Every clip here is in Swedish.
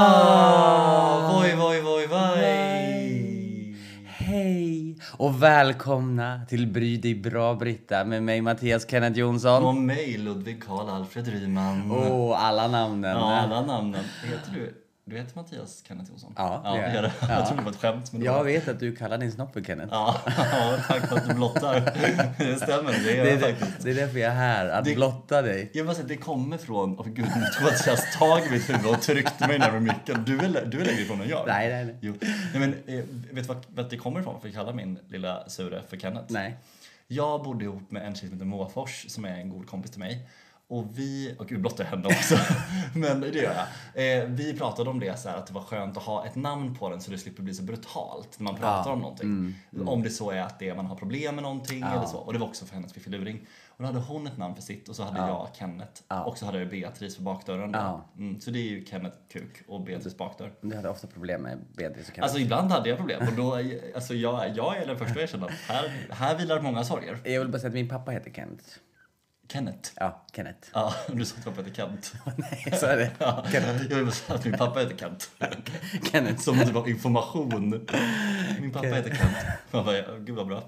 Ah, voj, voj, voj, voj. Voj. Hej och välkomna till Bry dig bra Britta med mig Mattias Kenneth Och Jonsson. mig, Ludvig Karl Alfred Ryman. Åh, alla namnen. Ja, alla namnen. Heter du... Du heter Mattias Kenneth Jonsson? Ja, ja det gör det gör jag. du. Jag trodde det var ett skämt. Men det Jag var... vet att du kallar din snopp för Kenneth. ja, ja, tack för att du blottar. Det stämmer, det gör det, är jag det, faktiskt. det är därför jag är här, att Det- blotta dig. Jag måste säga, det kommer från... Åh gud, nu tog Mattias tag i mitt huvud och tryckte mig närmare micken. Du är, lä- du är längre ifrån än jag. Nej, nej, nej. Jo. Nej, men, eh, vet du vad, vad det kommer ifrån? För jag kallar min lilla sure för Kenneth. Nej. Jag bodde ihop med en tjej som heter Måfors som är en god kompis till mig. Och vi, och gud blottar jag henne också, men det gör jag. Eh, vi pratade om det så här att det var skönt att ha ett namn på den så det slipper bli så brutalt när man pratar om någonting. Om det så är att det är man har problem med någonting eller så. Och det var också för hennes fiffiluring. Och då hade hon ett namn för sitt och så hade jag Kenneth. Och så hade jag Beatrice för bakdörren. då. Ja. Mm, så det är ju Kenneth Kuk och Beatrice bakdörr. Du hade ofta problem med Beatrice och Kenneth. Alltså ibland hade jag problem och då, alltså jag, jag är den första att erkänna att här, här vilar många sorger. jag vill bara säga att min pappa heter Kenneth. Kenneth. Ja, Kenneth. Ja, du sa att pappa heter Kent. Nej, så är det. Ja, jag vill bara säga att min pappa heter Kent. Kenneth. Som en typ av information. Min pappa heter Kent. Man bara, ja, gud vad bra.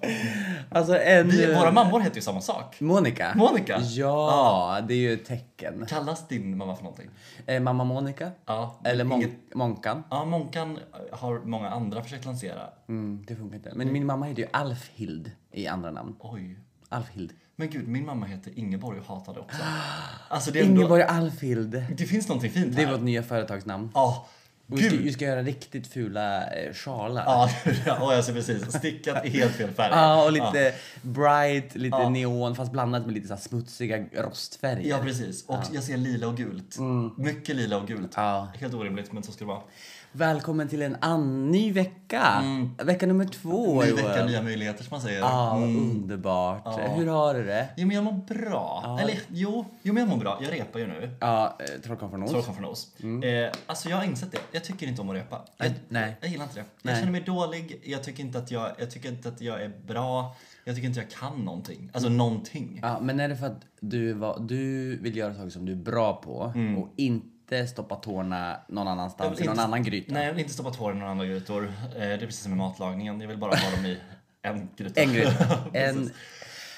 Alltså en... Vi, våra mammor heter ju samma sak. Monica. Monica? Ja, det är ju ett tecken. Kallas din mamma för någonting? Eh, mamma Monica? Ja. Eller mon- inget- Monkan? Ja, Monkan har många andra försökt lansera. Mm, det funkar inte. Men min mamma heter ju Alfhild i andra namn. Oj. Alfhild. Men gud, min mamma heter Ingeborg och hatar det också. Alltså det är ändå, Ingeborg Alfhild. Det finns någonting fint Det är här. vårt nya företagsnamn. Ja, Och vi, ska, gud. vi ska göra riktigt fula eh, sjalar. Ja, ja, jag ser precis. Stickat i helt fel färg. Ja, och lite bright, lite Ja. neon fast blandat med lite så här smutsiga rostfärger. Ja, precis. Och jag ser lila och gult. Mycket lila och gult. Mm. Ja. Helt orimligt, men så ska det vara. Välkommen till en an- ny vecka! Vecka nummer två Mm. Ny Mm. Joel. vecka, nya möjligheter som man säger. Ja, underbart. Hur har du det? Jo, men jag mår bra. Eller jo, jo, men jag mår bra. Jag repar ju nu. Ja, eh, Trollkarlen från Oz. Sorry från oss. Eh, alltså jag har insett det. Jag tycker inte om att repa. Jag, Mm. nej. jag gillar inte det. Jag Nej. känner mig dålig. Jag tycker, inte att jag, jag tycker inte att jag är bra. Jag tycker inte jag kan någonting. Alltså någonting. Mm. Ja, men är det för att du, var, du vill göra saker som du är bra på och inte stoppa tårna någon Mm. Jag annanstans vill i någon inte- annan gryta? Nej, jag vill inte stoppa tår i några andra grytor. Eh, det är precis som med matlagningen. Jag vill bara ha dem i en gryta. En gryta. Precis. En,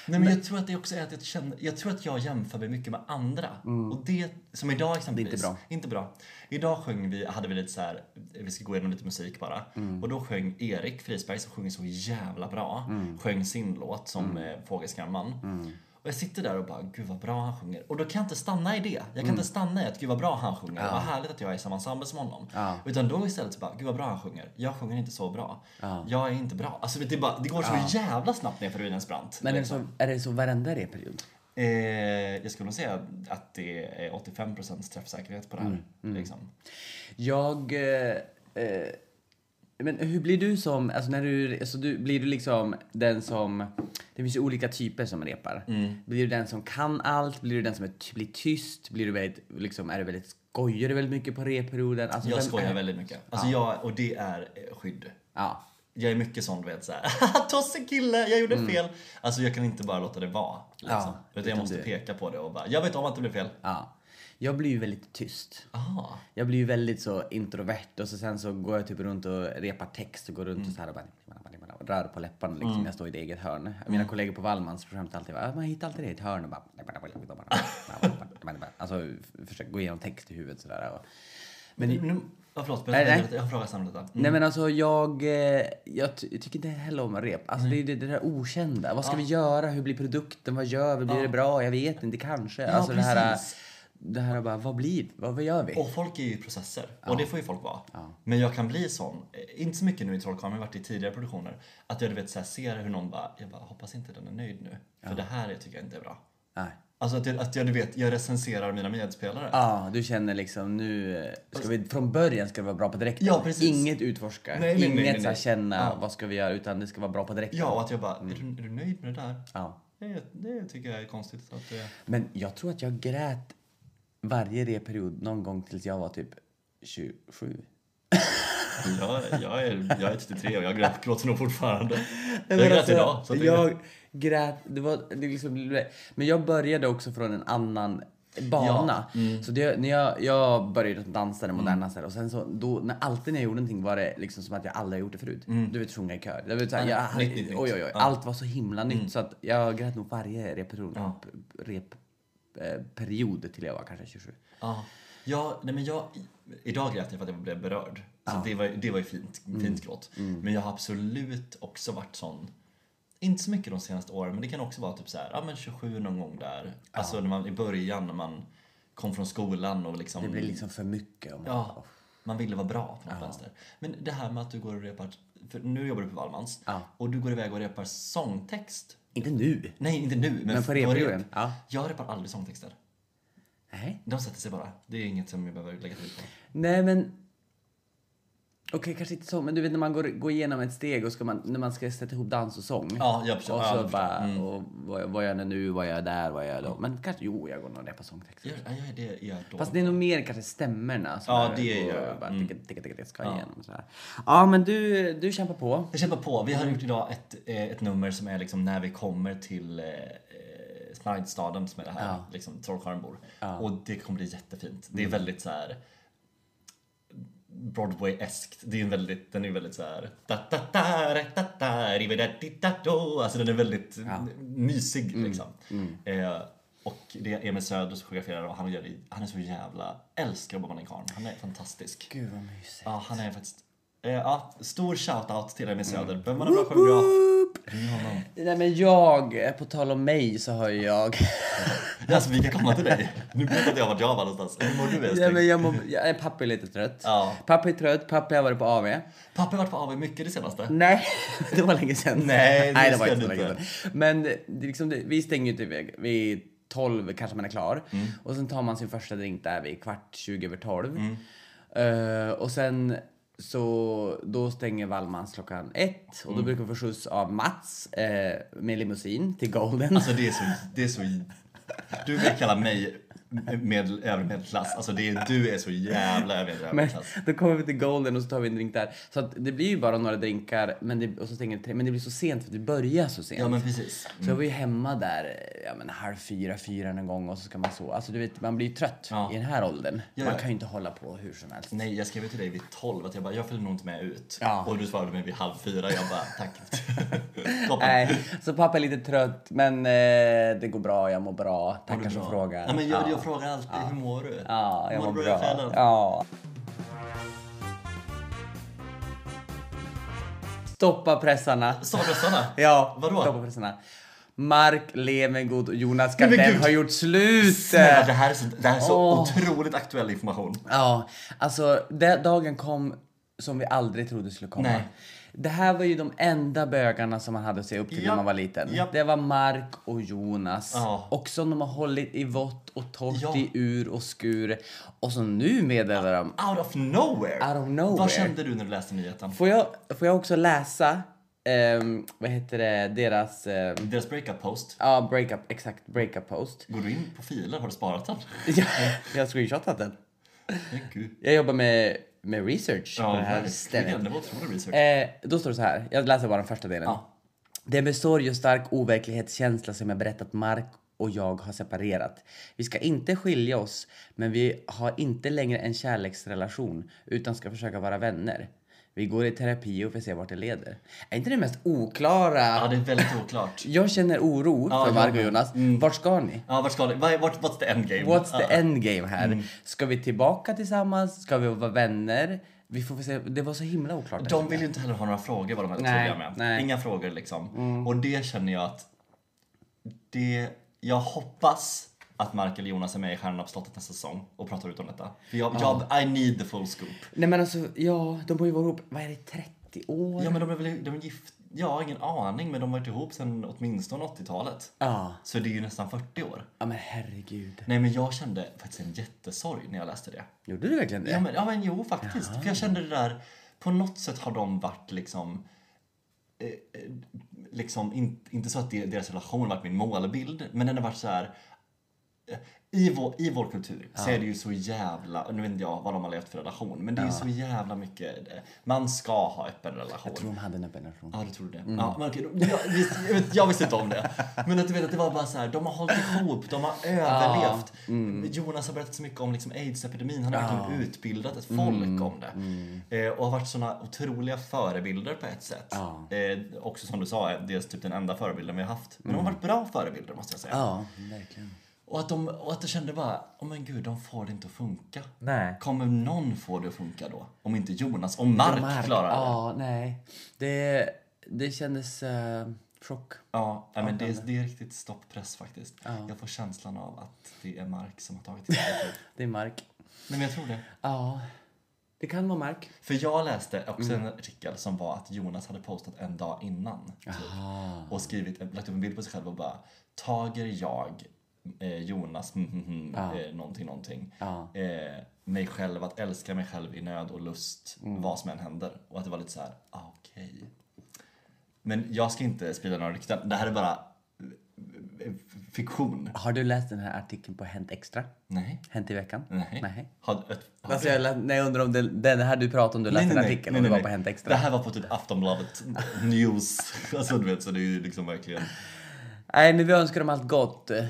Nej, men jag tror att det också är att jag känner, jag tror att jag jämför mig mycket med andra. Och Mm. det, som idag exempelvis. Det är inte Inte bra. Idag sjöng vi, hade vi lite så här, vi ska gå igenom lite musik bara. Och då sjöng Erik Frisberg som sjunger så jävla bra, sjöng sin låt som mm. Fågelskamman. Och jag sitter där och bara, gud vad bra han sjunger. Och då kan jag inte stanna i det. Jag kan inte stanna i att, gud vad bra han sjunger. Vad härligt att jag är i samma ensemble som honom. Utan då istället så bara, gud vad bra han sjunger. Jag sjunger inte så bra. Jag är inte bra. Alltså det, är bara, det går så jävla snabbt ner för ruinens brant. men är det, liksom. så, är det så varenda repperiod? Eh, jag skulle nog säga att det är 85% träffsäkerhet på det här. Mm, Liksom. Jag... Eh, eh, men hur blir du som... Alltså när du, alltså du, blir du liksom den som... Det finns ju olika typer som repar. Mm. Blir du den som kan allt? Blir du den som är, ty- blir tyst? Blir du väldigt, liksom, är du väldigt, skojar du väldigt mycket på repperioden? Alltså, Jag vem skojar är- väldigt mycket. Alltså jag, och det är eh, skydd. Ja. Jag är mycket sån du vet såhär, tosse kille, jag gjorde fel. Alltså jag kan inte bara låta det vara. Liksom. Mm. Ja, Utan jag utan måste det- peka på det och bara, jag vet om att det blev fel. Ja. Jag blir ju väldigt tyst. Aha. Jag blir ju väldigt så introvert och så sen så går jag typ runt och repar text och går runt och så här och bara och rör på läpparna liksom. Jag står i ett eget hörn. Mina kollegor på Wallmans skämtar alltid bara, man hittar alltid det i ett hörn och bara Alltså försöker gå igenom text i huvudet sådär. Och... Men nu, ja, förlåt, men Nej, jag, nej. jag, har frågat samma detta. Nej men alltså jag, eh, jag, ty- jag tycker inte heller om rep. Alltså det är ju det, det där okända. Vad ska vi göra? Hur blir produkten? Vad gör vi? Blir det bra? Jag vet inte, kanske. alltså det här, precis. det här bara, vad blir Vad, vad gör vi? Och folk är ju processer. Och det får ju folk vara. Men jag kan bli sån, eh, inte så mycket nu i Trollkarlen, men jag har varit i tidigare produktioner. Att jag du vet, så här, ser hur någon bara, jag bara, hoppas inte den är nöjd nu. För det här tycker jag inte är bra. Nej. Alltså att jag, att jag du vet, jag recenserar mina medspelare. Ja, du känner liksom nu eh, ska vi från början ska det vara bra på direkten. Ja, precis. Inget utforska, Nej, nej, nej, inget nej, nej. så här känna vad ska vi göra utan det ska vara bra på direkten. Ja, och att jag bara, är, du, är du nöjd med det där? Ja. Det, det tycker jag är konstigt. Att det... Men jag tror att jag grät varje reperiod någon gång tills jag var typ 27. jag, jag, är, jag är 33 och jag grät, gråter nog fortfarande. Jag Nej, men grät alltså, idag. Så att det, jag grät. Det var, det liksom, men jag började också från en annan bana. mm. Så det, när jag, jag började dansa den moderna mm. och sen så, då, när, alltid när jag gjorde någonting var det liksom som att jag aldrig har gjort det förut. Du vet sjunga i kör. Det var så här, jag, Mm. nytt, nytt, Mm. nytt. Oj, oj, oj. Allt var så himla nytt så att jag grät nog varje repetition, p- rep, eh, period till jag var kanske 27. Ja, ja nej men jag, idag grät jag för att jag blev berörd. Så det, var, det var ju fint, Mm. fint gråt. Men jag har absolut också varit sån, inte så mycket de senaste åren, men det kan också vara typ så här, ja men 27 någon gång där. Alltså när man, i början när man kom från skolan och liksom, Det blir liksom för mycket. Om ja, man ville vara bra på något vänster. Men det här med att du går och repar, för nu jobbar du på Wallmans Ja. och du går iväg och repar sångtext. Inte nu. Nej, inte nu, men, Men på det var repperioden, ja. Jag repar aldrig sångtexter. Nej. De sätter sig bara. Det är inget som jag behöver lägga tid på. Nej men... Okej, kanske inte så, men du vet när man går, går igenom ett steg och ska man, när man ska sätta ihop dans och sång. Ja, jag förstår. Och Ja, jag så förstår. Mm. bara, och vad, vad gör jag nu, vad gör jag där, vad gör jag då? Men kanske, jo, jag går nog och repar sångtexter. Jag, jag, det är jag då. Fast det är nog mer kanske stämmorna som Ja, jag- det och gör jag. Mm. bara ticka, ticka, ticka, ticka, ska igenom. Så här. Ja, men du, du kämpar på. Jag kämpar på. Vi har gjort idag ett, eh, ett nummer som är liksom när vi kommer till eh, eh, Smaragdstaden som är det här, liksom trollkarlen bor. Och det kommer bli jättefint. Mm. Det är väldigt så här Broadway-eskt. Det är en väldigt, den är väldigt så här. Ta, ta, ta, ra, ta, ta, arrivederci, ta, do. Alltså den är väldigt n- mysig Mm. liksom. Eh, och det är Emil Söder som koreograferar och han, gör det, han är så jävla, älskar Bob Dylan Karn. Han är fantastisk. Gud vad mysigt. Ja, han är faktiskt... Eh, ja, stor shoutout till Mm. Emil Söder. Behöver man en bra koreograf? Ring honom. Nej men jag, på tal om mig så har ju jag... Alltså, vi kan komma till dig. Nu berättade jag vart jag var någonstans. Hur mår du Nej, men älskling? jag, mår- jag är pappa är lite trött. Ja. Pappa är trött, pappa har varit på AV. Pappa har varit på AW mycket det senaste. Nej, det var länge sedan. Nej, det det var ska inte så du länge inte. sedan. Men det, det liksom, det, vi stänger ju inte iväg vid 12 kanske man är klar. Mm. Och sen tar man sin första drink där vid kvart 20 över 12. Mm. Eh, och sen så då stänger Wallmans klockan ett Mm. och då brukar vi få skjuts av Mats eh, med limousin till Golden. Alltså, det är så... Det är så du vill kalla mig med, övre medelklass. Alltså, det är, du är så jävla övre Men medelklass. då kommer vi till Golden och så tar vi en drink där. Så att det blir ju bara några drinkar men det, och så stänger det, tre- men det blir så sent för det börjar så sent. Ja, men precis. Så jag var ju hemma där eh, ja, men halv fyra, fyra någon gång och så ska man sova. Alltså du vet, man blir ju trött Ja. i den här åldern. Ja, man ja. kan ju inte hålla på hur som helst. Nej, jag skrev ju till dig vid 12 att jag bara, jag följer nog inte med ut. Ja. Och du svarade mig vid halv fyra. Jag bara, tack. Toppen. Nej, så pappa är lite trött men eh, det går bra, jag mår bra. Mår Tackar du som bra? frågar. Ja, men jag, Ja. jag frågar alltid, hur mår du? Ja, jag mår, du alltså? bra. i själen? Ja. Stoppa pressarna. Sa bussarna? Ja, Vadå? stoppa pressarna. Mark Levengood och Jonas Nej, men Gardell gud. har gjort slut! Snälla, det här är så, det här är så Åh. otroligt aktuell information. Ja, alltså den dagen kom som vi aldrig trodde skulle komma. Nej. Det här var ju de enda bögarna som man hade att se upp till när Japp, man var liten. japp. Det var Mark och Jonas. Ja. Och som de har hållit i vått och torrt, Ja. i ur och skur. Och som nu meddelar de... Out of nowhere! Out of nowhere. Vad kände du när du läste nyheten? Får jag, får jag också läsa, ehm, vad heter det, deras... ehm, Deras breakup post. ja, breakup, exakt, breakup post. Går du in på filen? Har du sparat den? Jag, jag har screenshotat den. Men gud. Jag jobbar med, med research Ja, på det här verkligen. stället. Det var otrolig research. Eh, då står det så här, jag läser bara den första delen. Ja. Det är med sorg och stark overklighetskänsla som jag berättat Mark och jag har separerat. Vi ska inte skilja oss, men vi har inte längre en kärleksrelation utan ska försöka vara vänner. Vi går i terapi och får se vart det leder. Är inte det mest oklara? Ja, det är väldigt oklart. Jag känner oro Ja, för jag Mark och med. Jonas. Vart ska ni? Ja, vart ska det? Vad- Vart, what's the endgame? What's Ja. Mm. the endgame här? Ska vi tillbaka tillsammans? Ska vi vara vänner? Vi får väl se. Det var så himla oklart. De vill ju inte heller ha några frågor vad de är Nej, tydliga med. nej. Mm. Inga frågor liksom. Och det känner jag att... Det, jag hoppas att Mark eller Jonas är med i Stjärnorna på slottet nästa säsong och pratar ut om detta. För jag, jag, I need the full scoop. Nej men alltså, ja, de har ju varit ihop, vad är det, 30 år? Ja men de är väl de är gift... Jag har ingen aning men de har varit ihop sedan åtminstone 80-talet. Ja. Så det är ju nästan 40 år. Ja men herregud. Nej men jag kände faktiskt en jättesorg när jag läste det. Gjorde du verkligen det? Ja men, ja, men jo faktiskt. För jag kände det där, på något sätt har de varit liksom eh, eh, Liksom, in, inte så att det- deras relation varit min målbild, men den har varit så här i vår, I vår kultur så är det ju så jävla, nu vet inte jag vad de har levt för relation, men det är ju så jävla mycket, eh, man ska ha öppen relation. Jag tror de hade en öppen relation. Ja, du tror det. Mm. Ja, men okej, då- jag, visste- jag, vet, jag visste inte om det. Men att du vet att det var bara så här, de har hållit ihop, de har överlevt. Mm. Jonas har berättat så mycket om liksom aids-epidemin, han har verkligen utbildat ett folk Mm. om det. Eh, och har varit såna otroliga förebilder på ett sätt. Eh, också som du sa, det är typ den enda förebilden vi har haft. Men de har varit bra förebilder måste jag säga. Mm. Ja, verkligen. Och, att de, och att jag kände bara, oh men gud, de får det inte att funka. Nej. Kommer någon få det att funka då? Om inte Jonas, om Mark, klarar det. Ja, nej. Det, det kändes eh, chock. Ja, nej, men det, är- det är riktigt stoppress faktiskt. Jag får känslan av att det är Mark som har tagit till sig. Det är Mark. Nej men jag tror det. Ja, det kan vara Mark. För jag läste också en artikel som var att Jonas hade postat en dag innan. Typ, och skrivit, lagt upp en bild på sig själv och bara Tager jag eh, Jonas mm, mm, mm, eh, någonting någonting. Eh, mig själv, att älska mig själv i nöd och lust vad som än händer. Och att det var lite så här, ah, okej. Men jag ska inte sprida några rykten. Det här är bara eh, fiktion. Har du läst den här artikeln på Hänt Extra? Nej. Hänt i veckan? Nej. nej. Har, ett, har, Alltså jag, lä- nej, jag undrar om det, den här du pratade om, du läste den artikeln och det var på Hänt Extra? Det här var på typ Aftonbladet News. Alltså du vet, så det är ju liksom verkligen. Nej, men vi önskar dem allt gott. Eh,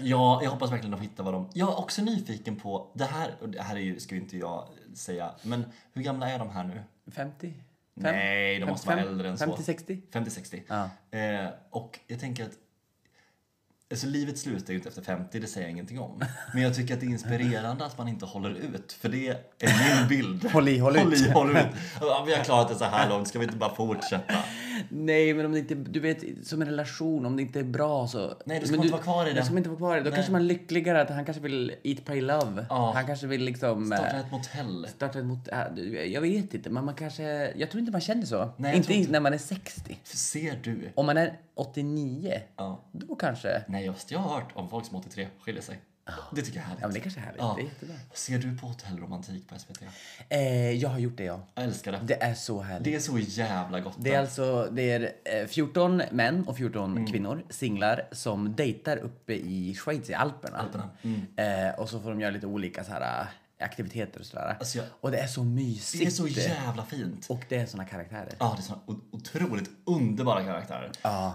Ja, jag hoppas verkligen de hittar vad de... Jag är också nyfiken på det här, och det här är ju, ska ju inte jag säga, men hur gamla är de här nu? 50? Fem? Nej, de måste vara äldre än så. 50-60? 50-60. Eh, och jag tänker att Alltså livet slutar ju inte efter 50, det säger jag ingenting om. Men jag tycker att det är inspirerande att man inte håller ut, för det är min bild. Håll i, håll ut. Håll i, håll ut. Ja, vi har klarat det så här långt, ska vi inte bara fortsätta? Nej, men om det inte, du vet, som en relation, om det inte är bra så... Nej, då ska men man inte vara kvar i då det. ska man inte vara kvar i det. Då kanske man är lyckligare att han kanske vill eat, pray, love. Ja. Han kanske vill liksom... eh, Starta ett motell. starta ett mot... äh, du, Jag vet inte, men man kanske... Jag tror inte man känner så. Nej, jag inte tror ens när man är 60. Ser du? Om man är 89, Ja. då kanske... Ja, Nej, just jag har hört om folk som 83 skiljer sig. Det tycker jag är men härligt. det kanske är härligt. Ja. Det är jättebra. Ser du på hotellromantik på SVT? Eh, jag har gjort det, ja. Jag älskar det. Det är så härligt. Det är så jävla gott. Det är alltså det är eh, 14 män och 14 Mm. kvinnor, singlar, som dejtar uppe i Schweiz, i Alperna. Alperna, Mm. Eh, och så får de göra lite olika så här, eh, aktiviteter och sådär. Alltså, jag- Och det är så mysigt. det är så jävla fint. Och det är såna karaktärer. Ja, det är såna o- otroligt underbara karaktärer.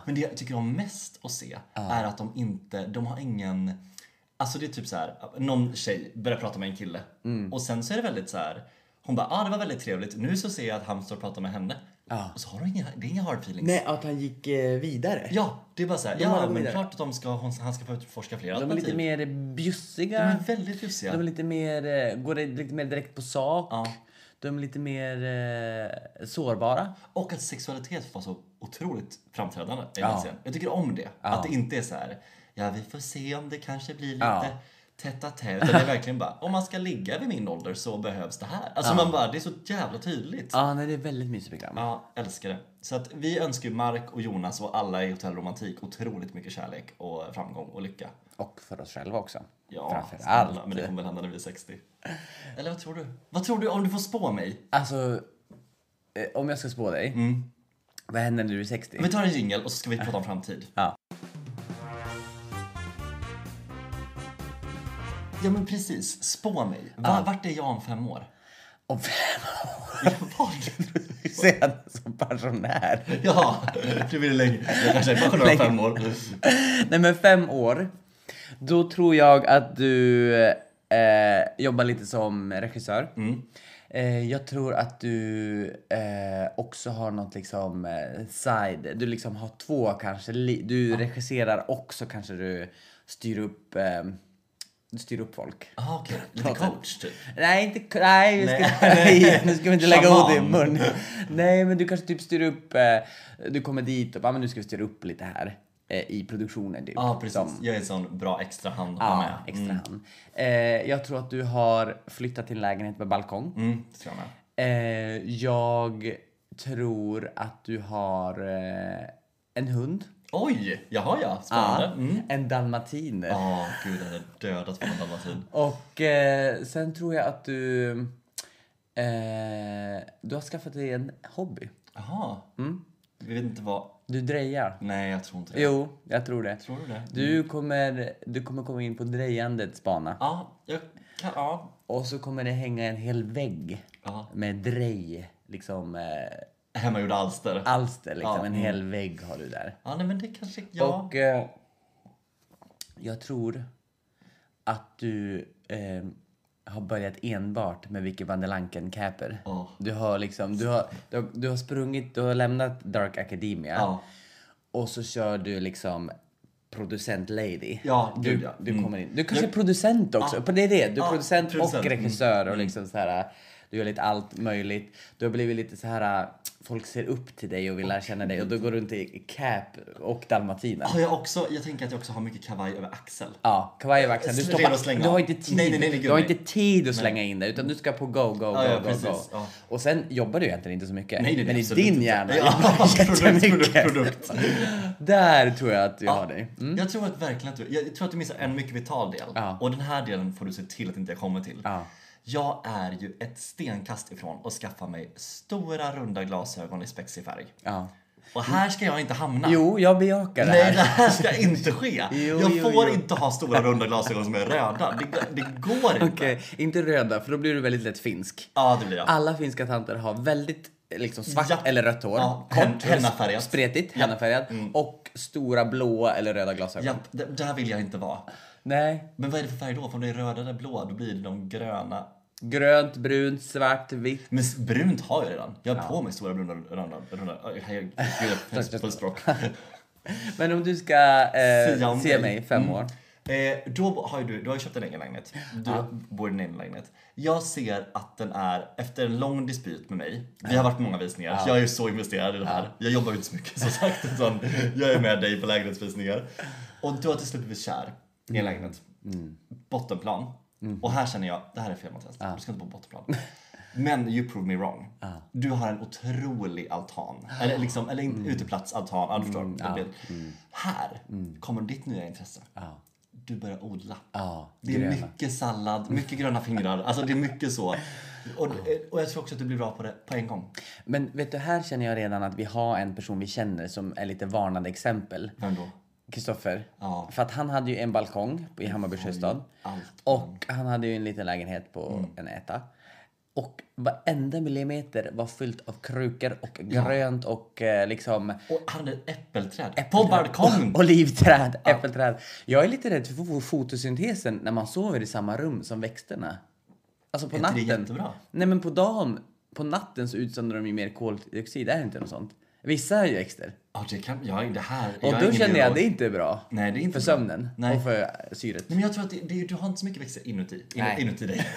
Men det jag tycker om mest att se är att de inte, de har ingen... Alltså det är typ så här, någon tjej börjar prata med en kille Mm. och sen så är det väldigt så här. Hon bara, ah, det var väldigt trevligt, nu så ser jag att han står och pratar med henne. Och så har de inga, det är inga hard feelings. Nej, att han gick eh, vidare. Ja, det är bara såhär, bara går ja men vidare. klart att de ska, hon, han ska få utforska fler de är alternativ. lite mer bjussiga. Typ. De är väldigt ljusiga. De är lite mer, eh, går det lite mer direkt på sak. De är lite mer eh, sårbara. Och att sexualitet var så otroligt framträdande i den scenen. Jag tycker om det. Att det inte är så här, ja vi får se om det kanske blir Ja. lite tätt att tätt. Utan det är verkligen bara, om man ska ligga vid min ålder så behövs det här. Alltså man bara, det är så jävla tydligt. Ja, nej, det är ett väldigt mysigt program. Ja, älskar det. Så att vi önskar ju Mark och Jonas och alla i Hotell Romantik otroligt mycket kärlek och framgång och lycka. Och för oss själva också. Ja, Framför snälla, allt. Men det kommer väl hända när vi är 60. Eller vad tror du? Vad tror du om du får spå mig? Alltså, eh, om jag ska spå dig. Vad händer när du är 60? Vi tar en jingel och så ska vi prata om framtid. Ja. Ja men precis, spå mig. Var, Vart är jag om fem år? Om fem år? Jag var- Sen som pensionär. ja, du vill länge. Jag kanske är pensionär om fem år. Nej men fem år. Då tror jag att du eh, jobbar lite som regissör. Eh, jag tror att du eh, också har något liksom eh, side. Du liksom har två kanske. Li- du regisserar och så kanske du styr upp, eh, du styr upp folk. Ah, okej. Lite coach typ. Nej, inte, nej, vi ska, Nej. nej, nu ska vi inte lägga ord i Shaman. mun. Nej, men du kanske typ styr upp, eh, du kommer dit och bara, men nu ska vi styra upp lite här eh, i produktionen. Typ. Ja ah, precis, Som- jag är en sån bra extra hand att ha ja, med. Mm. extra hand. Eh, jag tror att du har flyttat till en lägenhet med balkong. Mm, det tror jag med. Eh, jag tror att du har eh, en hund. Oj! Jaha ja, spännande. Ja, Mm. En dalmatin. Ja, gud jag hade dödat på en dalmatin. Och eh, sen tror jag att du, eh, du har skaffat dig en hobby. Jaha. Vi vet inte vad... Du drejar. Nej, jag tror inte det. Jo, jag tror det. Tror du det? Du kommer, du kommer komma in på drejandets bana. Ja, jag kan... Ja. Och så kommer det hänga en hel vägg ja. med drej, liksom eh, Hemmagjorda alster. alster. Liksom. Ja, En hel vägg har du där. Ja, nej men det kanske... Ja. Och eh, jag tror att du eh, har börjat enbart med Vicky van der Lanken-caper. Ja. Du har liksom, du har, du, har, du har sprungit, du har lämnat Dark Academia Ja. och så kör du liksom producent lady. Ja, du, gud, ja. du kommer in. Du kanske är producent också. Det är det. Du är Ja, producent, producent. och Mm. regissör och liksom så här. Du gör lite allt möjligt. Du har blivit lite så här. Folk ser upp till dig och vill lära känna dig och då går du runt i cap och dalmatiner. Har jag också... Jag tänker att jag också har mycket kavaj över axel. Ja, kavaj över axeln. Du, Redo att stoppar, slänga. du har inte tid. Nej, nej, nej, nej, gud, du har nej. inte tid att slänga in det utan du ska på go, go, go, ja, go, go. precis, ja. Och sen jobbar du egentligen inte så mycket. Nej, nej, men nej, i absolut din inte. hjärna Ja, jobbar du produkt, produkt, jättemycket. produkt. Där tror jag att jag har dig. Jag tror att verkligen att du, jag tror att du missar en mycket vital del. Mm. Ja. Och den här delen får du se till att inte jag kommer till. Ja. Jag är ju ett stenkast ifrån att skaffa mig stora runda glasögon i spexig färg. Ja. Och här ska jag inte hamna. Jo, jag bejakar det Nej, här. det här ska inte ske. Jo, jag jo, får jo. inte ha stora runda glasögon som är röda. Det, det går inte. Okej, inte röda för då blir du väldigt lätt finsk. Ja, det blir jag. Alla finska tanter har väldigt eh, liksom svart Ja. eller rött hår. Ja, hen- kort, hennafärgat. Mm. Spretigt, hennafärgat. Och stora blåa eller röda glasögon. Japp, d- där vill jag inte vara. Nej. Men vad är det för färg då? För om det är röda eller blå, då blir det de gröna. Grönt, brunt, svart, vitt. Men s- brunt har jag redan. Jag har på mig stora bruna runda... runda oj, herregud, jag är full språk. Men om du ska eh, Sia om se dig. mig i fem år. Eh, då har ju du, du har ju köpt en egen lägenhet. Du bor i din egen lägenhet. Jag ser att den är, efter en lång dispyt med mig, vi har varit på många visningar, jag är ju så investerad i det här. Jag jobbar ju inte så mycket som sagt, utan jag är med dig på lägenhetsvisningar. Och du har till slut blivit kär i en lägenhet. Bottenplan. Mm. Och här känner jag, det här är fel Mattias, du ska inte bo på bottenplan. Men you prove me wrong. Du har en otrolig altan. Eller, liksom, eller Mm. en uteplatsaltan. Ja, du förstår. det blir- Här kommer ditt nya intresse Mm. Ja. du börjar odla. Ja, det är gröna. mycket sallad, mycket gröna fingrar. Alltså det är mycket så. Och, och jag tror också att du blir bra på det på en gång. Men vet du, här känner jag redan att vi har en person vi känner som är lite varnande exempel. Vem då? Kristoffer. Ja. För att han hade ju en balkong i Hammarby sjöstad. allt. Mm. Och han hade ju en liten lägenhet på en etta. Och varenda millimeter var fyllt av krukor och grönt och eh, liksom Och han hade ett äppelträd. På balkongen! olivträd, äppelträd. Jag är lite rädd för fo- fotosyntesen när man sover i samma rum som växterna. Alltså på Är inte det natten. jättebra? Nej men på dagen, på natten så utsöndrar de ju mer koldioxid, är det inte något sånt? Vissa är ju växter. Ja, det kan... Ja, det här... Och är då ingen känner jag biolog. att det inte är bra. Nej, det är inte för bra. sömnen Nej. och för eh, syret. Nej, men jag tror att det, det, du har inte så mycket växter inuti, in, Nej. inuti dig.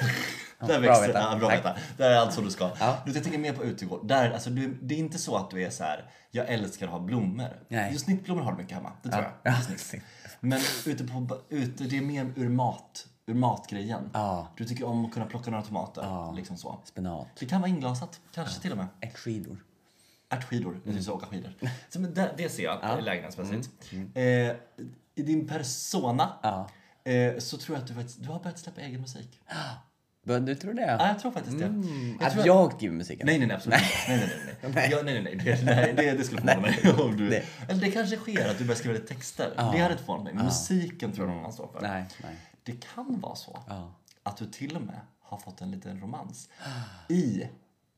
Där bra växer veta. ja, bra Tack. veta. Där är allt som du ska. Ja. Du, jag tänker mer på utegård. Där, alltså, du, det är inte så att du är så här, jag älskar att ha blommor. Nej. Just snittblommor har du mycket hemma, det tror jag. Ja, Men ute på, ba- ute, det är mer ur mat, ur matgrejen. Ja. Du tycker om att kunna plocka några tomater, liksom så. Spenat. Det kan vara inglasat, kanske till och med. Ärtskidor. Ärtskidor, jag Mm. tycker så åka skidor. Så, men det, det ser jag lägenhetsmässigt. Mm. Eh, I din persona eh, så tror jag att du, faktiskt, du har börjat släppa egen musik. Ja, Men Du tror det? jag tror faktiskt det. Jag Mm. att tror att- jag skriver musiken? Nej, nej, nej, absolut inte. nej, nej, nej, nej. Ja, nej, nej, nej. Det, nej det, det skulle förvåna mig. Om du, Nej. Eller det kanske sker att du börjar skriva lite texter. Det hade inte förvånat mig. Musiken tror jag någon annan står för. Nej, nej. Det kan vara så att du till och med har fått en liten romans i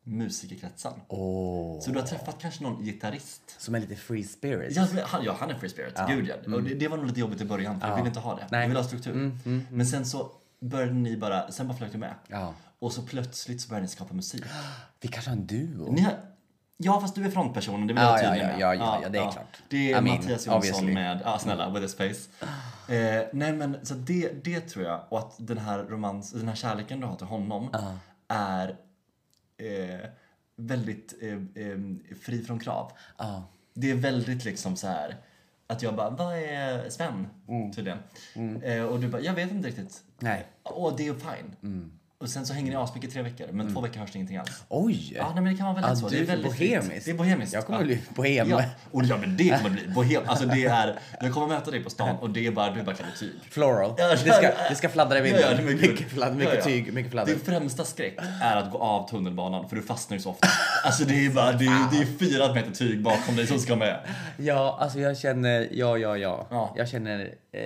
musikerkretsen. Ah. Åh. Så du har träffat kanske någon gitarrist. Som är lite free spirit. Ja, men han, ja, han är free spirit. Gud ja. Och det, det var nog lite jobbigt i början för jag ville inte ha det. Jag Mm. Nej. Mm, ville ha struktur. Men sen så började ni bara, sen bara flög du med. Ja. Och så plötsligt så började ni skapa musik. Vi kanske har en duo? Ni har, ja, fast du är frontpersonen, det vill Ja, jag vara ja, tydlig ja, med. ja, ja, ja, det är klart. Det är I mean, Mattias Jonsson obviously. med, ja snälla, with a space. Eh, nej men, så det, det tror jag, och att den här romans, den här kärleken du har till honom är eh, väldigt eh, eh, fri från krav. Ja. Det är väldigt liksom så här att jag bara, vad är Sven? Tydligen. Eh, och du bara, jag vet inte riktigt. Mm. Nej. Mm. Och det är fine. Och sen så hänger ni asmycket i tre veckor, men två veckor hörs det ingenting alls. Oj! Ja, nej, men det kan vara väldigt Att så. du det är är väldigt bohemisk. fritt. Det är bohemiskt. Jag kommer ja. bli E bohem. Ja, och ja, men det kommer bli bohem. Alltså det är, jag kommer möta dig på stan och det är bara, du är bara klädd i tyg. Floral. Ja, det, ska, det ska fladdra i vinden. Ja, ja, men gud. mycket fladd, mycket Ja, ja. tyg, mycket fladder. Din främsta skräck är att gå av tunnelbanan för du fastnar ju så ofta. Alltså det är bara, det är, det är fyra meter tyg bakom dig som ska med. Ja, alltså jag känner, ja, ja, ja. Ja. Jag känner, eh,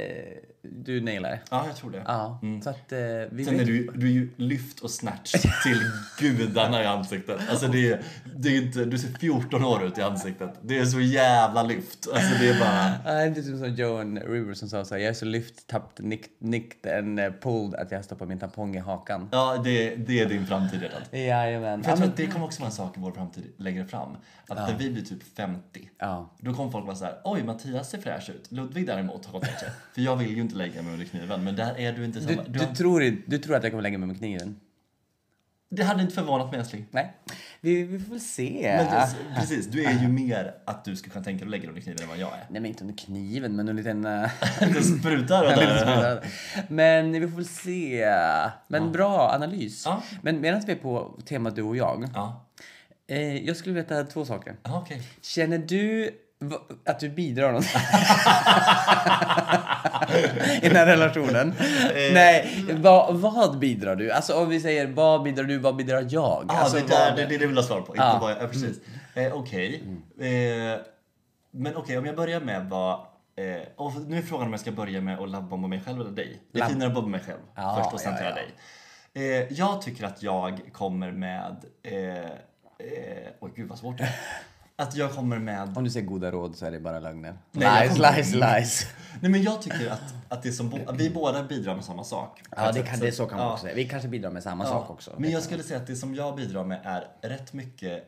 du nailar det. Ja, jag tror det. Ja, så att eh, vi... Mm. Sen är du, ju- du är ju lyft och snatch till gudarna i ansiktet. Alltså det är, det är inte, du ser 14 år ut i ansiktet. Det är så jävla lyft. Alltså det är bara... Nej, inte typ som Joan Rivers som sa såhär, jag är så lyft, tappt, nick, nicked and eh, pulled att jag stoppar min tampong i hakan. Ja, det, det är din framtid redan. Jajamän. För Ja, jag tror men, att det kommer också vara en sak i vår framtid längre fram. Att när vi blir typ 50, ja. då kommer folk vara så här: oj Mattias ser fräsch ut. Ludvig däremot har gått bort sig. För jag vill ju inte lägga mig under kniven, men där är du inte Du, samma. Du, du, tror, inte- du tror att jag kommer lägga mig med kniven? det hade inte förvånat mig älskling. Nej. Vi, vi får väl se. Alltså, Men det- precis, du är ju mer att du skulle kunna tänka dig att lägga dig under kniven än vad jag är. Nej, men inte under kniven, men under en liten... eh, Det sprutar och en liten där. smula. Men vi får väl se. Men bra analys. Ja. Men medan vi är på temat du och jag. Ja, Eh, jag skulle veta två saker. Ja, okej. Känner du va- att du bidrar någonting? I den här relationen? Eh, Nej, va, vad bidrar du? Alltså om vi säger vad bidrar du, vad bidrar jag? Ah, alltså, det, där, vad- det, det är det jag vill ha svar på. Inte Ja. Mm. bara, ja, precis. Eh, okej. Eh, men okej, om jag börjar med vad... Eh, och nu är frågan om jag ska börja med att labbomba mig själv eller dig. Det är Labb- finare att bomba mig själv Ja, först och sen ja, tar jag dig. Eh, jag tycker att jag kommer med... Eh, eh, oj, gud vad svårt det är. Att jag kommer med... Om du säger goda råd så är det bara lögner. Nej, lies, jag- lies, lies. Nej men jag tycker att, att, det som bo, att vi båda bidrar med samma sak. Ja, det, kan, det så kan man Ja. också säga. Vi kanske bidrar med samma sak också. Men jag skulle säga att det som jag bidrar med är rätt mycket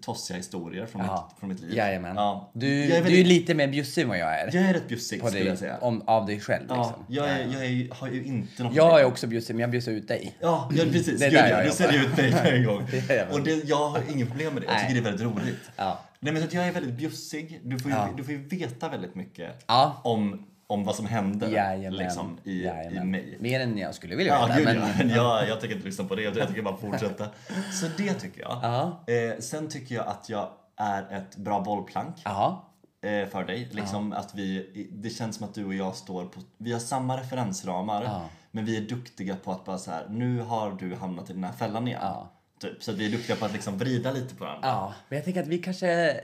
tossiga historier från, Ja. mitt, från mitt liv. Jajamän. Ja. Du, jag, är du är väldigt, lite mer bjussig än vad jag är. jag är rätt bjussig på skulle jag dig, säga. om, av dig själv Ja, liksom. jag är, jag är, har ju inte någon Jag är också bjussig, men jag bjussar ut dig. Ja, ja precis. Det är Gud, där ja, jag du ser ut dig på en gång. Det är jag. Och det, jag har inget problem med det. Jag tycker Nej. det är väldigt roligt. Ja. Nej, men så att jag är väldigt bjussig. Du får ju, Ja. du får ju veta väldigt mycket Ja. om, om vad som händer Jajamän. liksom, i, i Jajamän. mig. Mer än jag skulle vilja Ja, veta. gud, men, ja. Men jag, jag tänker inte lyssna på det. Jag tänker bara fortsätta. Så det tycker jag. Ja. Eh, sen tycker jag att jag är ett bra bollplank ja. eh, för dig. Liksom att vi, det känns som att du och jag står på... Vi har samma referensramar, Ja. men vi är duktiga på att bara så här, nu har du hamnat i den här fällan igen. Ja. Typ. Så att vi är duktiga på att liksom vrida lite på varandra. Ja, men jag tänker att vi kanske, eh,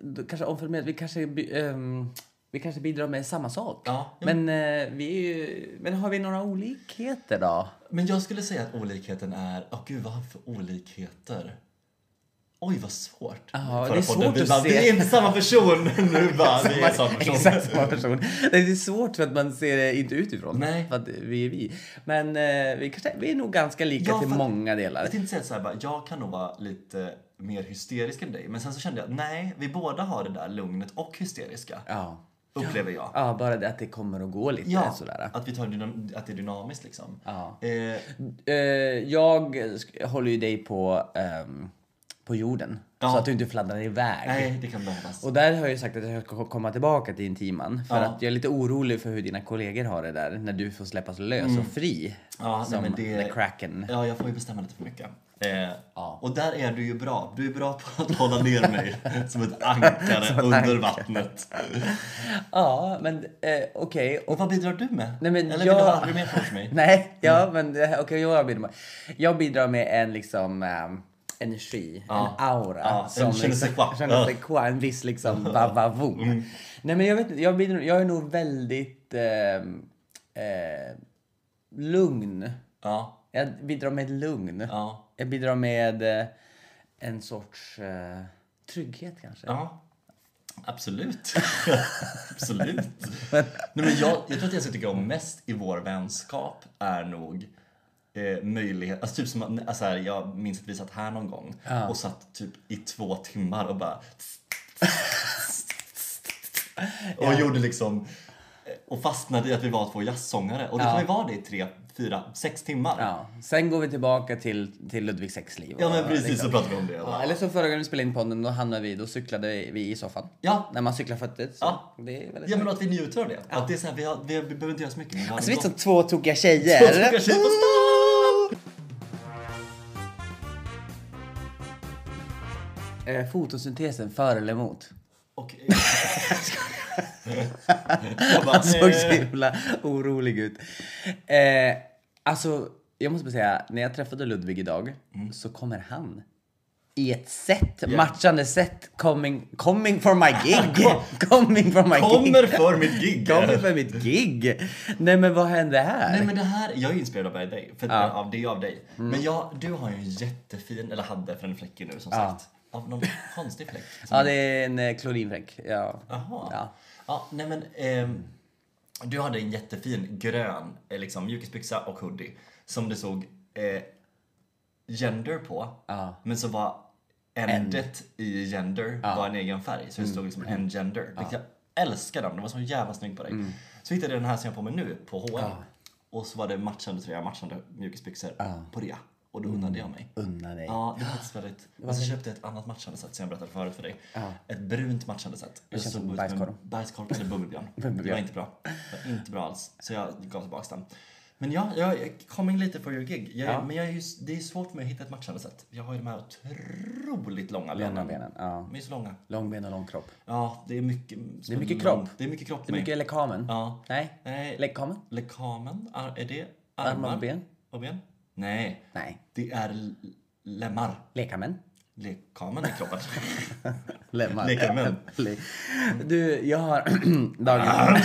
då kanske omformulerar, vi kanske, by- ehm, vi kanske bidrar med samma sak. Ja, ja. Men, eh, vi är ju, men har vi några olikheter då? Men jag skulle säga att olikheten är... Åh gud, vad har vi för olikheter? Oj, vad svårt. Ja, Förra det är svårt podden, vi att bara, se. Vi är inte samma person! nu bara, vi är samma person. Exakt samma person. Det är svårt för att man ser det inte utifrån. Nej. För att vi är vi. Men eh, vi, kanske, vi är nog ganska lika Ja, till för- många delar. Jag tänkte säga så här, bara, jag kan nog vara lite mer hysterisk än dig. Men sen så kände jag, nej, vi båda har det där lugnet och hysteriska. Ja. Upplever jag. ja, bara det att det kommer och går lite Ja, sådär. att, vi tar dynam- att det är dynamiskt liksom. Ja. Eh, Eh, jag sk- håller ju dig på, ehm, på jorden. Ja. Så att du inte fladdrar iväg. nej, det kan behövas. Och där har jag ju sagt att jag ska komma tillbaka till intiman. För Ja. att jag är lite orolig för hur dina kollegor har det där. När du får släppas lös och fri. Mm. Ja, nej, som men det- the kraken. Ja, jag får ju bestämma lite för mycket. Eh, Ja. Och där är du ju bra. Du är bra på att hålla ner mig som ett ankare under vattnet. Ja, men eh, okej. Och- Och vad bidrar du med? Nej, men Eller vill jag- du höra mer från mig? Mm. Nej, ja men eh, okej jag bidrar med. Jag bidrar med en liksom ehm, energi, Ja. en aura. Ja, en je ne sais liksom- quoi. je ne sais quoi, en viss liksom vavavon. Mm. Nej men jag vet inte, jag, bidrar, jag är nog väldigt ehm, eh, lugn. Ja, Jag bidrar med lugn. ja, Jag bidrar med eh, en sorts eh, trygghet kanske. ja. Absolut. Absolut. Nej, men jag, jag tror att jag skulle tycka om mest i vår vänskap är nog eh, möjlighet, alltså typ som att- alltså här, jag minns att vi satt här någon gång och satt typ i två timmar och bara och gjorde liksom och fastnade i att vi var två jazzsångare och då kan vi vara det i tre, fyra, sex timmar. Ja, Ja. Sen går vi tillbaka till, till Ludvig sexliv. men och precis liksom- så pratade vi om det. Ja, eller så förra gången vi spelade in podden, då hamnade vi, då cyklade vi i soffan. Ja. När man cyklar fötter. Så Ja. Det är väldigt Ja men att vi njuter av det. Att det är så här, vi, har, vi behöver inte göra så mycket. Men vi har Alltså en vi är gott- som två tokiga tjejer. Två tokiga tjejer på stan! eh, fotosyntesen för eller emot? Och... eh, Han såg Eh. så himla orolig ut. Eh, alltså, jag måste bara säga, när jag träffade Ludvig idag Mm. så kommer han i ett set, matchande set, coming, coming for my gig. coming for my Kommer gig. för mitt gig! Kommer för mitt gig. Nej men vad hände här? Nej men det här, jag är inspirerad av dig, för av det är av dig. Mm. Men jag, du har ju en jättefin, eller hade för en fläck nu som sagt. Av någon konstig fläck. som- Ja det är en eh, klorinfläck. Ja. Jaha. Ja. Ja, nej men. ehm, du hade en jättefin grön eh, liksom, mjukisbyxa och hoodie som det såg eh, gender på. Men så var ändet i gender var en egen färg. Så det stod liksom en gender. Vilket Jag älskar den, den var så jävla snygg på dig. Så hittade jag den här som jag har på mig nu på H&M. Och så var det matchande tröja, matchande mjukisbyxor på det. Och då undrade jag mig. Unna dig. Ja, det var faktiskt väldigt... Och så köpte jag ett annat matchande sätt som jag berättade förut för dig. Ett brunt matchande sätt. Det känns som bajskorv. Bajskorv eller bummelbjörn. Det var inte bra. Det var inte bra alls. Så jag gav tillbaka den. Men ja, jag jag kom in lite for your gig. Jag, Men jag är ju, det är svårt för mig att hitta ett matchande sätt. Jag har ju de här otroligt långa Långa benen. benen. Ja. De är så långa. Lång ben och lång kropp. Ja, det är mycket... Det är mycket kropp. Det är mycket kropp. Det är mycket lekamen. Ja. Nej. Nej. Lekamen? Lekamen? Ar- Är det armar? Armar och ben? Och ben? Nej. Nej. Det är l- lemmar. Lekamen? Lekamen i kroppen. Lemmar. Lekamen. Le- Du, jag har dagen...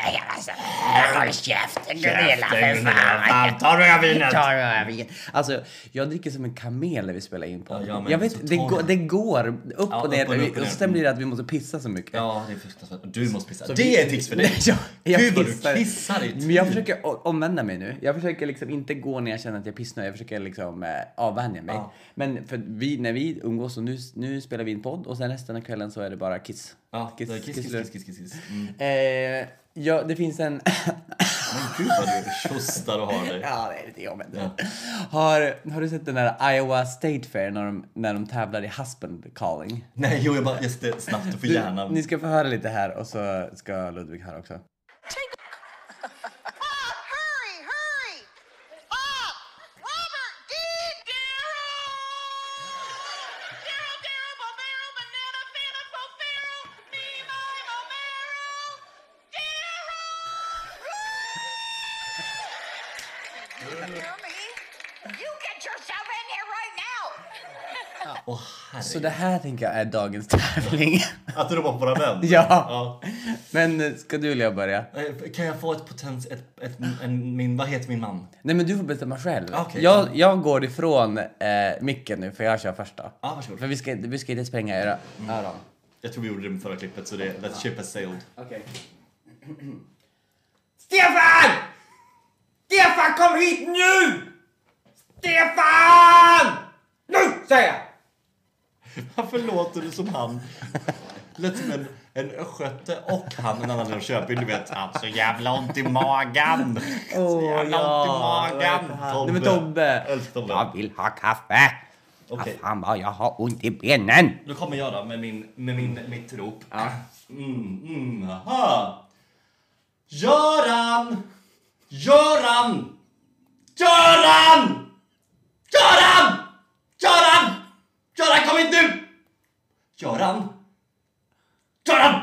Håll käften Gunilla för fan! Tar du jag vinet? Ta det här vinet. Alltså, jag dricker som en kamel när vi spelar in på. ja, men jag så vet, det, tar går, du. det går upp Ja, och ner. upp och ner, upp och och ner. sen blir det att vi måste pissa så mycket. Ja, det är fruktansvärt. Och Du måste pissa. Så det Alltså, vi- är ett tips för dig. jag, Gud jag vad pissar. du pissar i Men jag försöker o- omvända mig nu. Jag försöker liksom inte gå när jag känner att jag pissar. Jag försöker liksom eh, avvänja mig. Ja. Men för vi, när vi umgås och nu, nu spelar vi in podd och sen resten av kvällen så är det bara kiss. Ja, kiss, kiss, kiss, kiss. kiss, kiss, kiss, kiss. Mm. Eh, ja, det finns en... Men gud vad du tjostar och har dig. Ja, det är lite jobbigt. Har, har du sett den där Iowa State Fair när de, när de tävlar i husband calling? Nej, jo, jag bara, just det, snabbt, du får gärna. Ni ska få höra lite här och så ska Ludvig höra också. Bob, Ah, hurry, hurry! Bob! Robert! Dean! Daryl! Daryl, Daryl, Bomero, Banana, Fanta, Fofero, Me, My, Bomero! Daryl! Can you hear me? You get yourself in here right now! Åh Så herregud. det här tänker jag är dagens tävling. Att du ropar på våra vän. Ja. Men eh, ska du eller jag börja? Eh, Kan jag få ett potens... Ett, ett, en, min, vad heter min man? Nej men du får bestämma själv. Ah, Okej. Jag, jag går ifrån eh, micken nu för jag kör första. Ah, Ja, varsågod. För vi ska, vi ska inte spränga era Mm. öron. Jag tror vi gjorde det med förra klippet så det, that ship has sailed. Okej. Stefan! Stefan kom hit nu! Stefan! Nu säger jag! Varför låter du som han? Lät som en, en östgöte och han en annan från Köping, du vet. Han så jävla ont i magen. så Åh, jävla ja. ont i magen. Nej men Tobbe! Älskar Tobbe. Jag vill ha kaffe! Okej. Vad fan vad jag har ont i benen! Nu kommer jag då med, min, med min, mitt rop. Mm, mm, aha. Göran! Göran! Göran! Göran! Göran! Göran kom hit nu! Göran! Göran!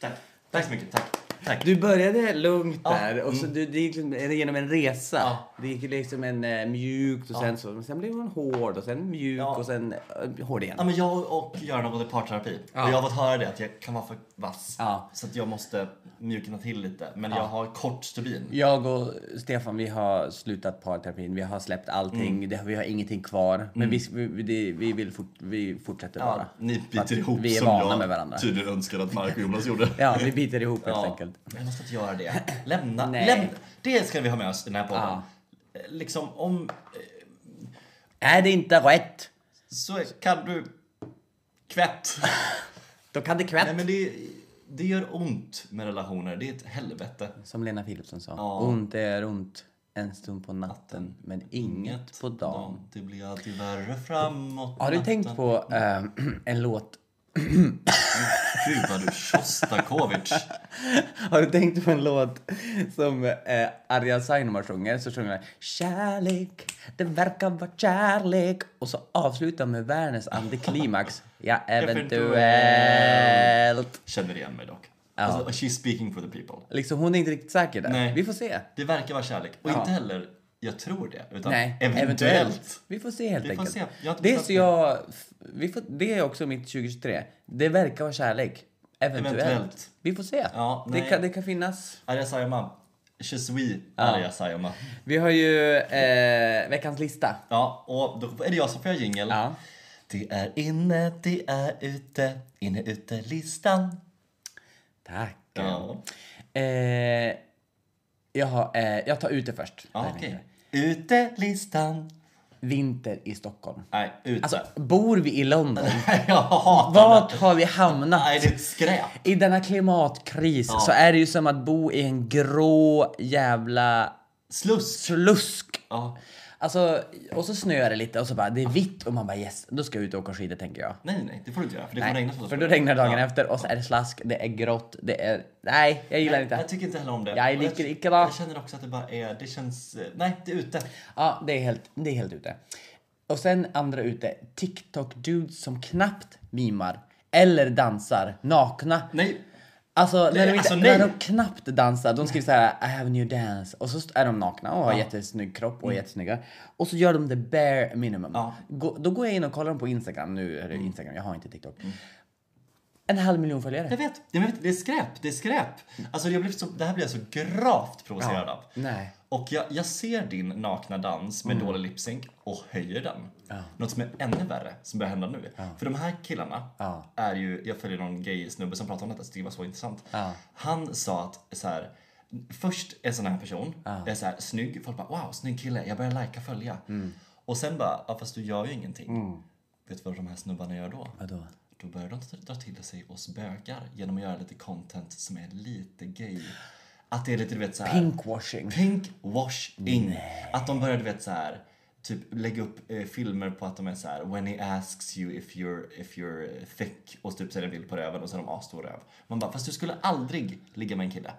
Tack. Tack så mycket. Tack. Tack. Du började lugnt där Ja, och så du, det gick liksom genom en resa. Ja. Det gick liksom en eh, mjukt och sen så, men sen blev hon hård och sen mjuk Ja. och sen eh, hård igen. Ja, men jag och Göran har gått i parterapi och jag har fått höra det att jag kan vara för vass. Ja. Så att jag måste mjukna till lite. Men jag har kort stubin. Jag och Stefan vi har slutat parterapin, vi har släppt allting, det, vi har ingenting kvar. Men vi, vi, det- vi, vill fort, vi fortsätter Ja, bara. ni För att biter ihop Vi är som vana jag med varandra. tydligen önskar att Mark och Jonas gjorde. Typ. Ja, vi biter ihop helt enkelt. Jag måste inte göra det. Lämna. Nej. lämna. Det ska vi ha med oss i den här podden. Eh, Ja. Liksom om... eh, Är det inte rätt, Så kan du... Kvätt. då kan det kvätt. Nej men det, det gör ont med relationer. Det är ett helvete. Som Lena Philipsson sa. Ja. Ont är ont en stund på natten, men inget på dagen. Det blir alltid värre framåt Har du ehm, natten. tänkt på eh, en låt? Gud vad du Sjostakovich. Har du tänkt på en låt som eh, Arja Sainomar sjunger? Så sjunger han Kärlek, det verkar vara kärlek Och så avslutar med världens antiklimax Ja, eventuellt Känner igen mig dock. Alltså, she's speaking for the people. Liksom hon är inte riktigt säker där. Nej. Vi får se. Det verkar vara kärlek. Och Ja. inte heller jag tror det, utan Nej, eventuellt. Vi får se helt Vi får enkelt. se. Jag har inte Det, är bestämt så mig. jag, vi får, det är också mitt 2023. Det verkar vara kärlek. Eventuellt. Eventuellt. Vi får se. Ja, det, nej. kan, det kan finnas. Arja Saijonmaa. Je suis Arja Saijonmaa. Vi har ju eh, veckans lista. Ja, och då är det jag som får göra jingel. Ja. Det är inne, det är ute, inne ute listan. Tack. Ja, Eh, jag, har, eh, jag tar ut det först. ja Där okej. heter Ute listan. det. Vinter i Stockholm. Nej, ute. Alltså, bor vi i London? jag hatar Vart det. har vi hamnat? Nej, det är ett skräp. I denna klimatkris så är det ju som att bo i en grå jävla Slusk. slusk. Ja. Alltså, och så snöar det lite och så bara det är vitt och man bara yes, då ska jag ut och åka skidor tänker jag. Nej, nej, det får du inte göra för det kommer regna så för då regnar dagen Ja. efter och så är det slask, det är grått, det är... Nej, jag gillar inte. Jag tycker inte heller om det. Jag Och liker icke va. Jag känner också att det bara är, det känns, eh, nej det är ute. Ja, det är helt, det är helt ute. Och sen andra ute, TikTok-dudes som knappt mimar eller dansar nakna. Nej, Alltså, när de, inte, alltså, nej. när de knappt dansar, de skriver så här I have a new dance och så är de nakna och har jättesnygg kropp och är jättesnygga. Och så gör de the bare minimum. Ja. Gå, då går jag in och kollar dem på Instagram, nu är det Instagram, jag har inte TikTok. En halv miljon följare. jag vet. Jag vet det är skräp, det är skräp. Alltså jag blev så, det här blev jag så gravt provocerad av. Nej. Mm. Och jag, jag ser din nakna dans med dålig lipsync och höjer den. Något som är ännu värre som börjar hända nu. För de här killarna Ja. är ju, jag följer någon gay snubbe som pratar om detta så det var så intressant. Ja. Han sa att så här, först en sån här person är så här snygg, folk bara wow snygg kille, jag börjar likea, följa. Mm. Och sen bara, ja, fast du gör ju ingenting. Vet du vad de här snubbarna gör då? Vadå? Då börjar de dra till sig oss bögar genom att göra lite content som är lite gay. Att det är lite du vet så här. Pinkwashing. Pink washing. Att de började vet så här typ lägga upp eh, filmer på att de är så här when he asks you if you're if you're thick och typ så är det en bild på röven och så är de asstor röv. Man bara fast du skulle aldrig ligga med en kille.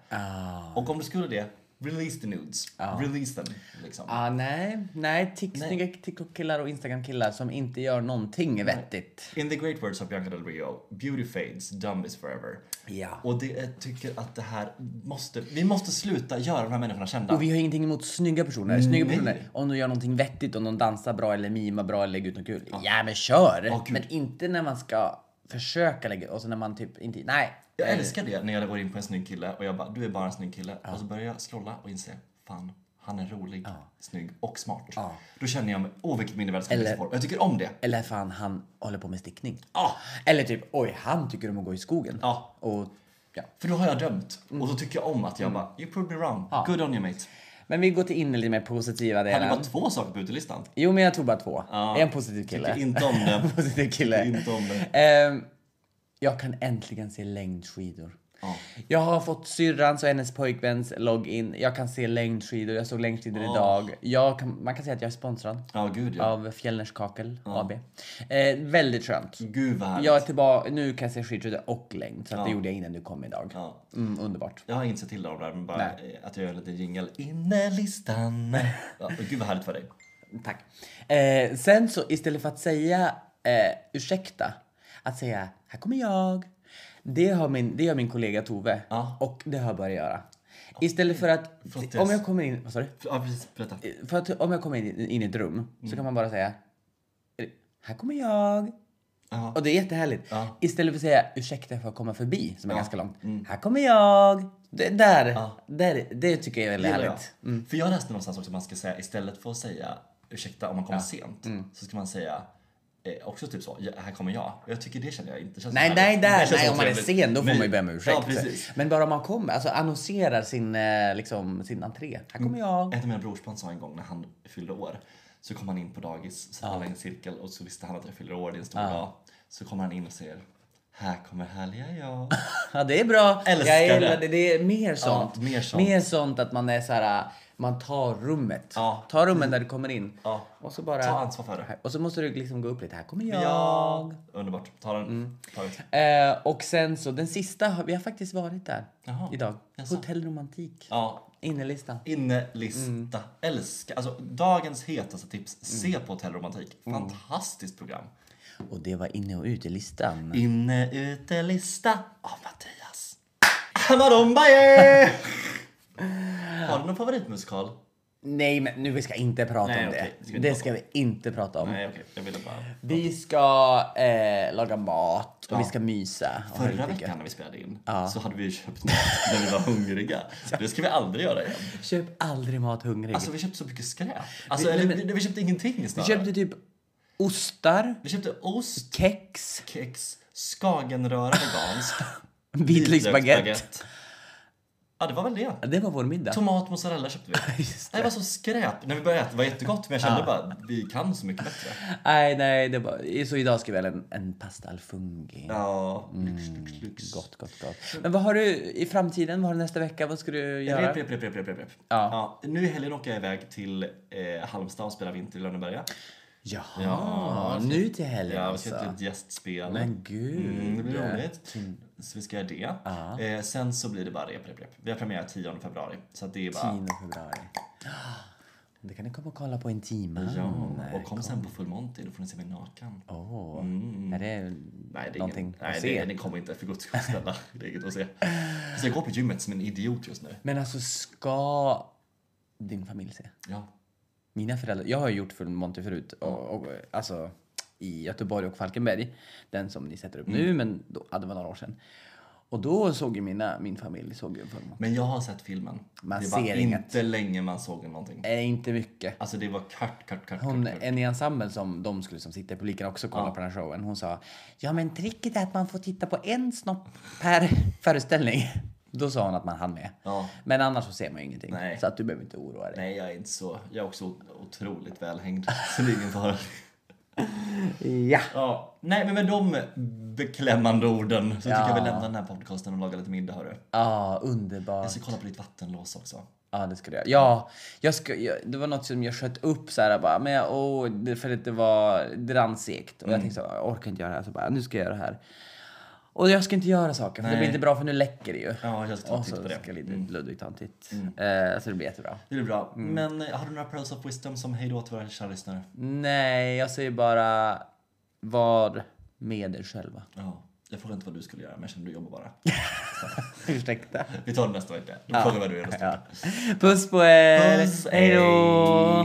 Och om du skulle det release the nudes. Release them liksom. Ah, nej, nej, tick, snygga TikTok-killar och Instagram-killar som inte gör någonting vettigt. In the great words of Bianca Del Rio, beauty fades, dumb is forever. Ja. Och det, jag tycker att det här måste, vi måste sluta göra de här människorna kända. Och vi har ingenting emot snygga personer. Mm. Snygga personer om de gör någonting vettigt, om de dansar bra eller mimar bra eller lägger ut något kul. Ja, men kör! Ja, gud. men inte när man ska försöka lägga och så när man typ inte... Nej. Jag älskar det när jag går in på en snygg kille och jag bara du är bara en snygg kille och så börjar jag scrolla och inse fan han är rolig, snygg och smart. Då känner jag mig, åh vilket mindervärde som Eller- jag får. Och Jag tycker om det. Eller fan, han håller på med stickning. Ja, Eller typ, oj, han tycker om att gå i skogen. Ja. Och, ja. för då har jag dömt Mm. och då tycker jag om att jag bara you proved me wrong, good on you mate. Men vi går till in i lite mer positiva Hade delen. bara två saker på utelistan. Jo, men jag tog bara två. Ja. En positiv kille. Tycker inte om det. positiv kille. Tycker inte om det. Ehm, jag kan äntligen se längdskidor. Ja. Jag har fått syrrans och hennes pojkväns login. Jag kan se längdskidor. Jag såg längdskidor idag. Jag kan, man kan säga att jag är sponsrad Ja, gud ja. av Fjällnäs Kakel AB. Eh, väldigt skönt. Gud vad härligt. Jag är tillbaka. Nu kan jag se skidskidor och längd. Så att det gjorde jag innan du kom idag. Ja. Mm, underbart. Jag har inte sett till av det här men bara eh, att jag gör en liten jingel. Innelistan. Ja, och gud vad härligt för dig. Tack. Eh, sen så istället för att säga eh, ursäkta, att säga här kommer jag. Det, har min, det gör min kollega Tove Ja. och det har jag börjat göra. Istället för att Förlåt, om jag- jag kommer in, vad sa du? Eh, Ja precis, berätta. För att om jag kommer in, in i ett rum Mm. så kan man bara säga "Eh, här kommer jag. Ja. Och det är jättehärligt. Ja. Mm. Istället för att säga ursäkta för att komma förbi som är ganska långt. Här kommer jag. Det, där, där, det tycker jag är väldigt gillar jag. härligt. Mm. För jag läste någonstans också att man ska säga istället för att säga ursäkta om man kommer sent Mm. så ska man säga eh, också typ så, ja, här kommer jag. Jag tycker det känner jag inte. Det känns Nej, så nej, härligt. Det där, känns nej, så om man är trevligt. sen då får Nej. man ju be om ursäkt. Ja, precis. men bara om man kommer, alltså annonserar sin, eh, liksom, sin entré. Här kommer Mm. jag. Ett av mina brorsbarn sa en gång när han fyllde år så kom han in på dagis, satt alla i en cirkel och så visste han att jag fyller år, det är en stor dag. Så kommer han in och säger Här kommer härliga jag. Ja, det är bra. Älskar jag gillar det. det. Det är mer sånt. mer sånt. att man är så här, eh, man tar rummet. Ja. Tar rummet när du kommer in. Ja. Och så bara... Ta ansvar för det. Och så måste du liksom gå upp lite. Här kommer jag. Mm. Ja. Underbart. Ta den. Ta ut. Eh, och sen så den sista, har- vi har faktiskt varit där Jaha. idag. Jaså. Hotell Romantik. Ja. Innerlista. Innelista. Mm. Älska. Alltså dagens hetaste tips. Se på Hotell Romantik. Mm. Fantastiskt program. Och det var inne och utelistan. Inne utelista av Mattias. Hamarumbaje! Har du någon favoritmusikal? Nej, men nu vi ska inte prata Nej, om okej, det. det ska vi inte det prata ska vi inte prata om. Nej okej, jag ville bara... Vi ska eh, laga mat och Ja. vi ska mysa. och ha Förra lite veckan gött. när vi spelade in så hade vi ju köpt mat när vi var hungriga. Det ska vi aldrig göra igen. Köp aldrig mat hungrig. Alltså vi köpte så mycket skräp. Alltså Vi- vi, eller, nej, men- vi, vi köpte ingenting vi snarare. köpte typ ostar, vi köpte ost, kex, kex, skagenröra veganskt. Liksom vitlöksbaguette. Vitlöksbaguette. Ja det var väl det. Det var vår middag. Tomat mozzarella köpte vi. Just det. Nej, det var så skräp. När vi började äta det var jättegott men jag kände bara vi kan så mycket bättre. Nej, nej, det var... Så idag ska vi ha en, en pasta al fungi. Ja, Mm. lyx, lyx, lyx. Gott, gott, gott. Men vad har du i framtiden? Vad har du nästa vecka? Vad ska du göra? Rep, rep, rep, rep, rep, rep. Ja. Ja, nu i helgen åker jag iväg till eh, Halmstad och spelar vinter i Lönneberga. Jaha, Ja, så- nu till helgen Ja, vi ska till alltså. ett gästspel. Men gud. Mm, det blir roligt. Så vi ska göra det. Eh, sen så blir det bara rep, rep, rep. Vi har premiär 10 februari. Så att det är bara... 10 februari. Det kan ni komma och kolla på Intiman. Ja, och kom sen på Full Monty, då får ni se mig naken. Åh, är det mm. Nej, det är någonting ingen, att nej, se? det, det kommer inte för guds skull snälla. Det är inget att se. Så jag går på gymmet som en idiot just nu. Men alltså, ska din familj se? Ja. Mina föräldrar, jag har ju gjort Full Monty förut, och, och, Mm. alltså i Göteborg och Falkenberg. Den som ni sätter Mm. upp nu, men då, ja, det var några år sedan. Och då såg ju mina, min familj såg ju Full Monty. Men jag har sett filmen. Man det var ser inte inget. länge man såg någonting. Eh, inte mycket. Alltså det var kört, kört, kört. Hon, kört, kört. en i ensemblen som de skulle som sitta i publiken också kolla på den här showen. Hon sa ja men tricket är att man får titta på en snopp per föreställning. Då sa hon att man hann med. Ja. Men annars så ser man ju ingenting. Nej. Så att du behöver inte oroa dig. Nej, jag är inte så. Jag är också o- otroligt välhängd. Så det är ingen fara. Ja. Ja. Nej, men med de beklämmande orden så tycker Ja. jag vi lämnar den här podcasten och lagar lite middag hörru. Ja, underbart. Jag ska kolla på ditt vattenlås också. Ja, det ska du göra. Ja, jag ska, jag, det var något som jag sköt upp så här bara, men jag, åh, det- för att det var, det rann segt. Och Mm. jag tänkte så här, jag orkar inte göra det här. Så bara, nu ska jag göra det här. Och jag ska inte göra saker, för det Nej. blir inte bra för nu läcker det ju. Ja, jag ska ta en Och titt så på det. Mm. ska Lid- Ludvig ta en titt. Eh, så det blir jättebra. Det blir bra. Mm. Men eh, har du några pearls of wisdom som hej då till våra kära lyssnare? Nej, jag säger bara, var med er själva. Ja. Jag frågar inte vad du skulle göra, men jag känner du jobbar bara. Ursäkta. Vi tar det nästa vecka. Då frågar jag vad du gör nästa vecka. Puss på er! Puss, Hej då!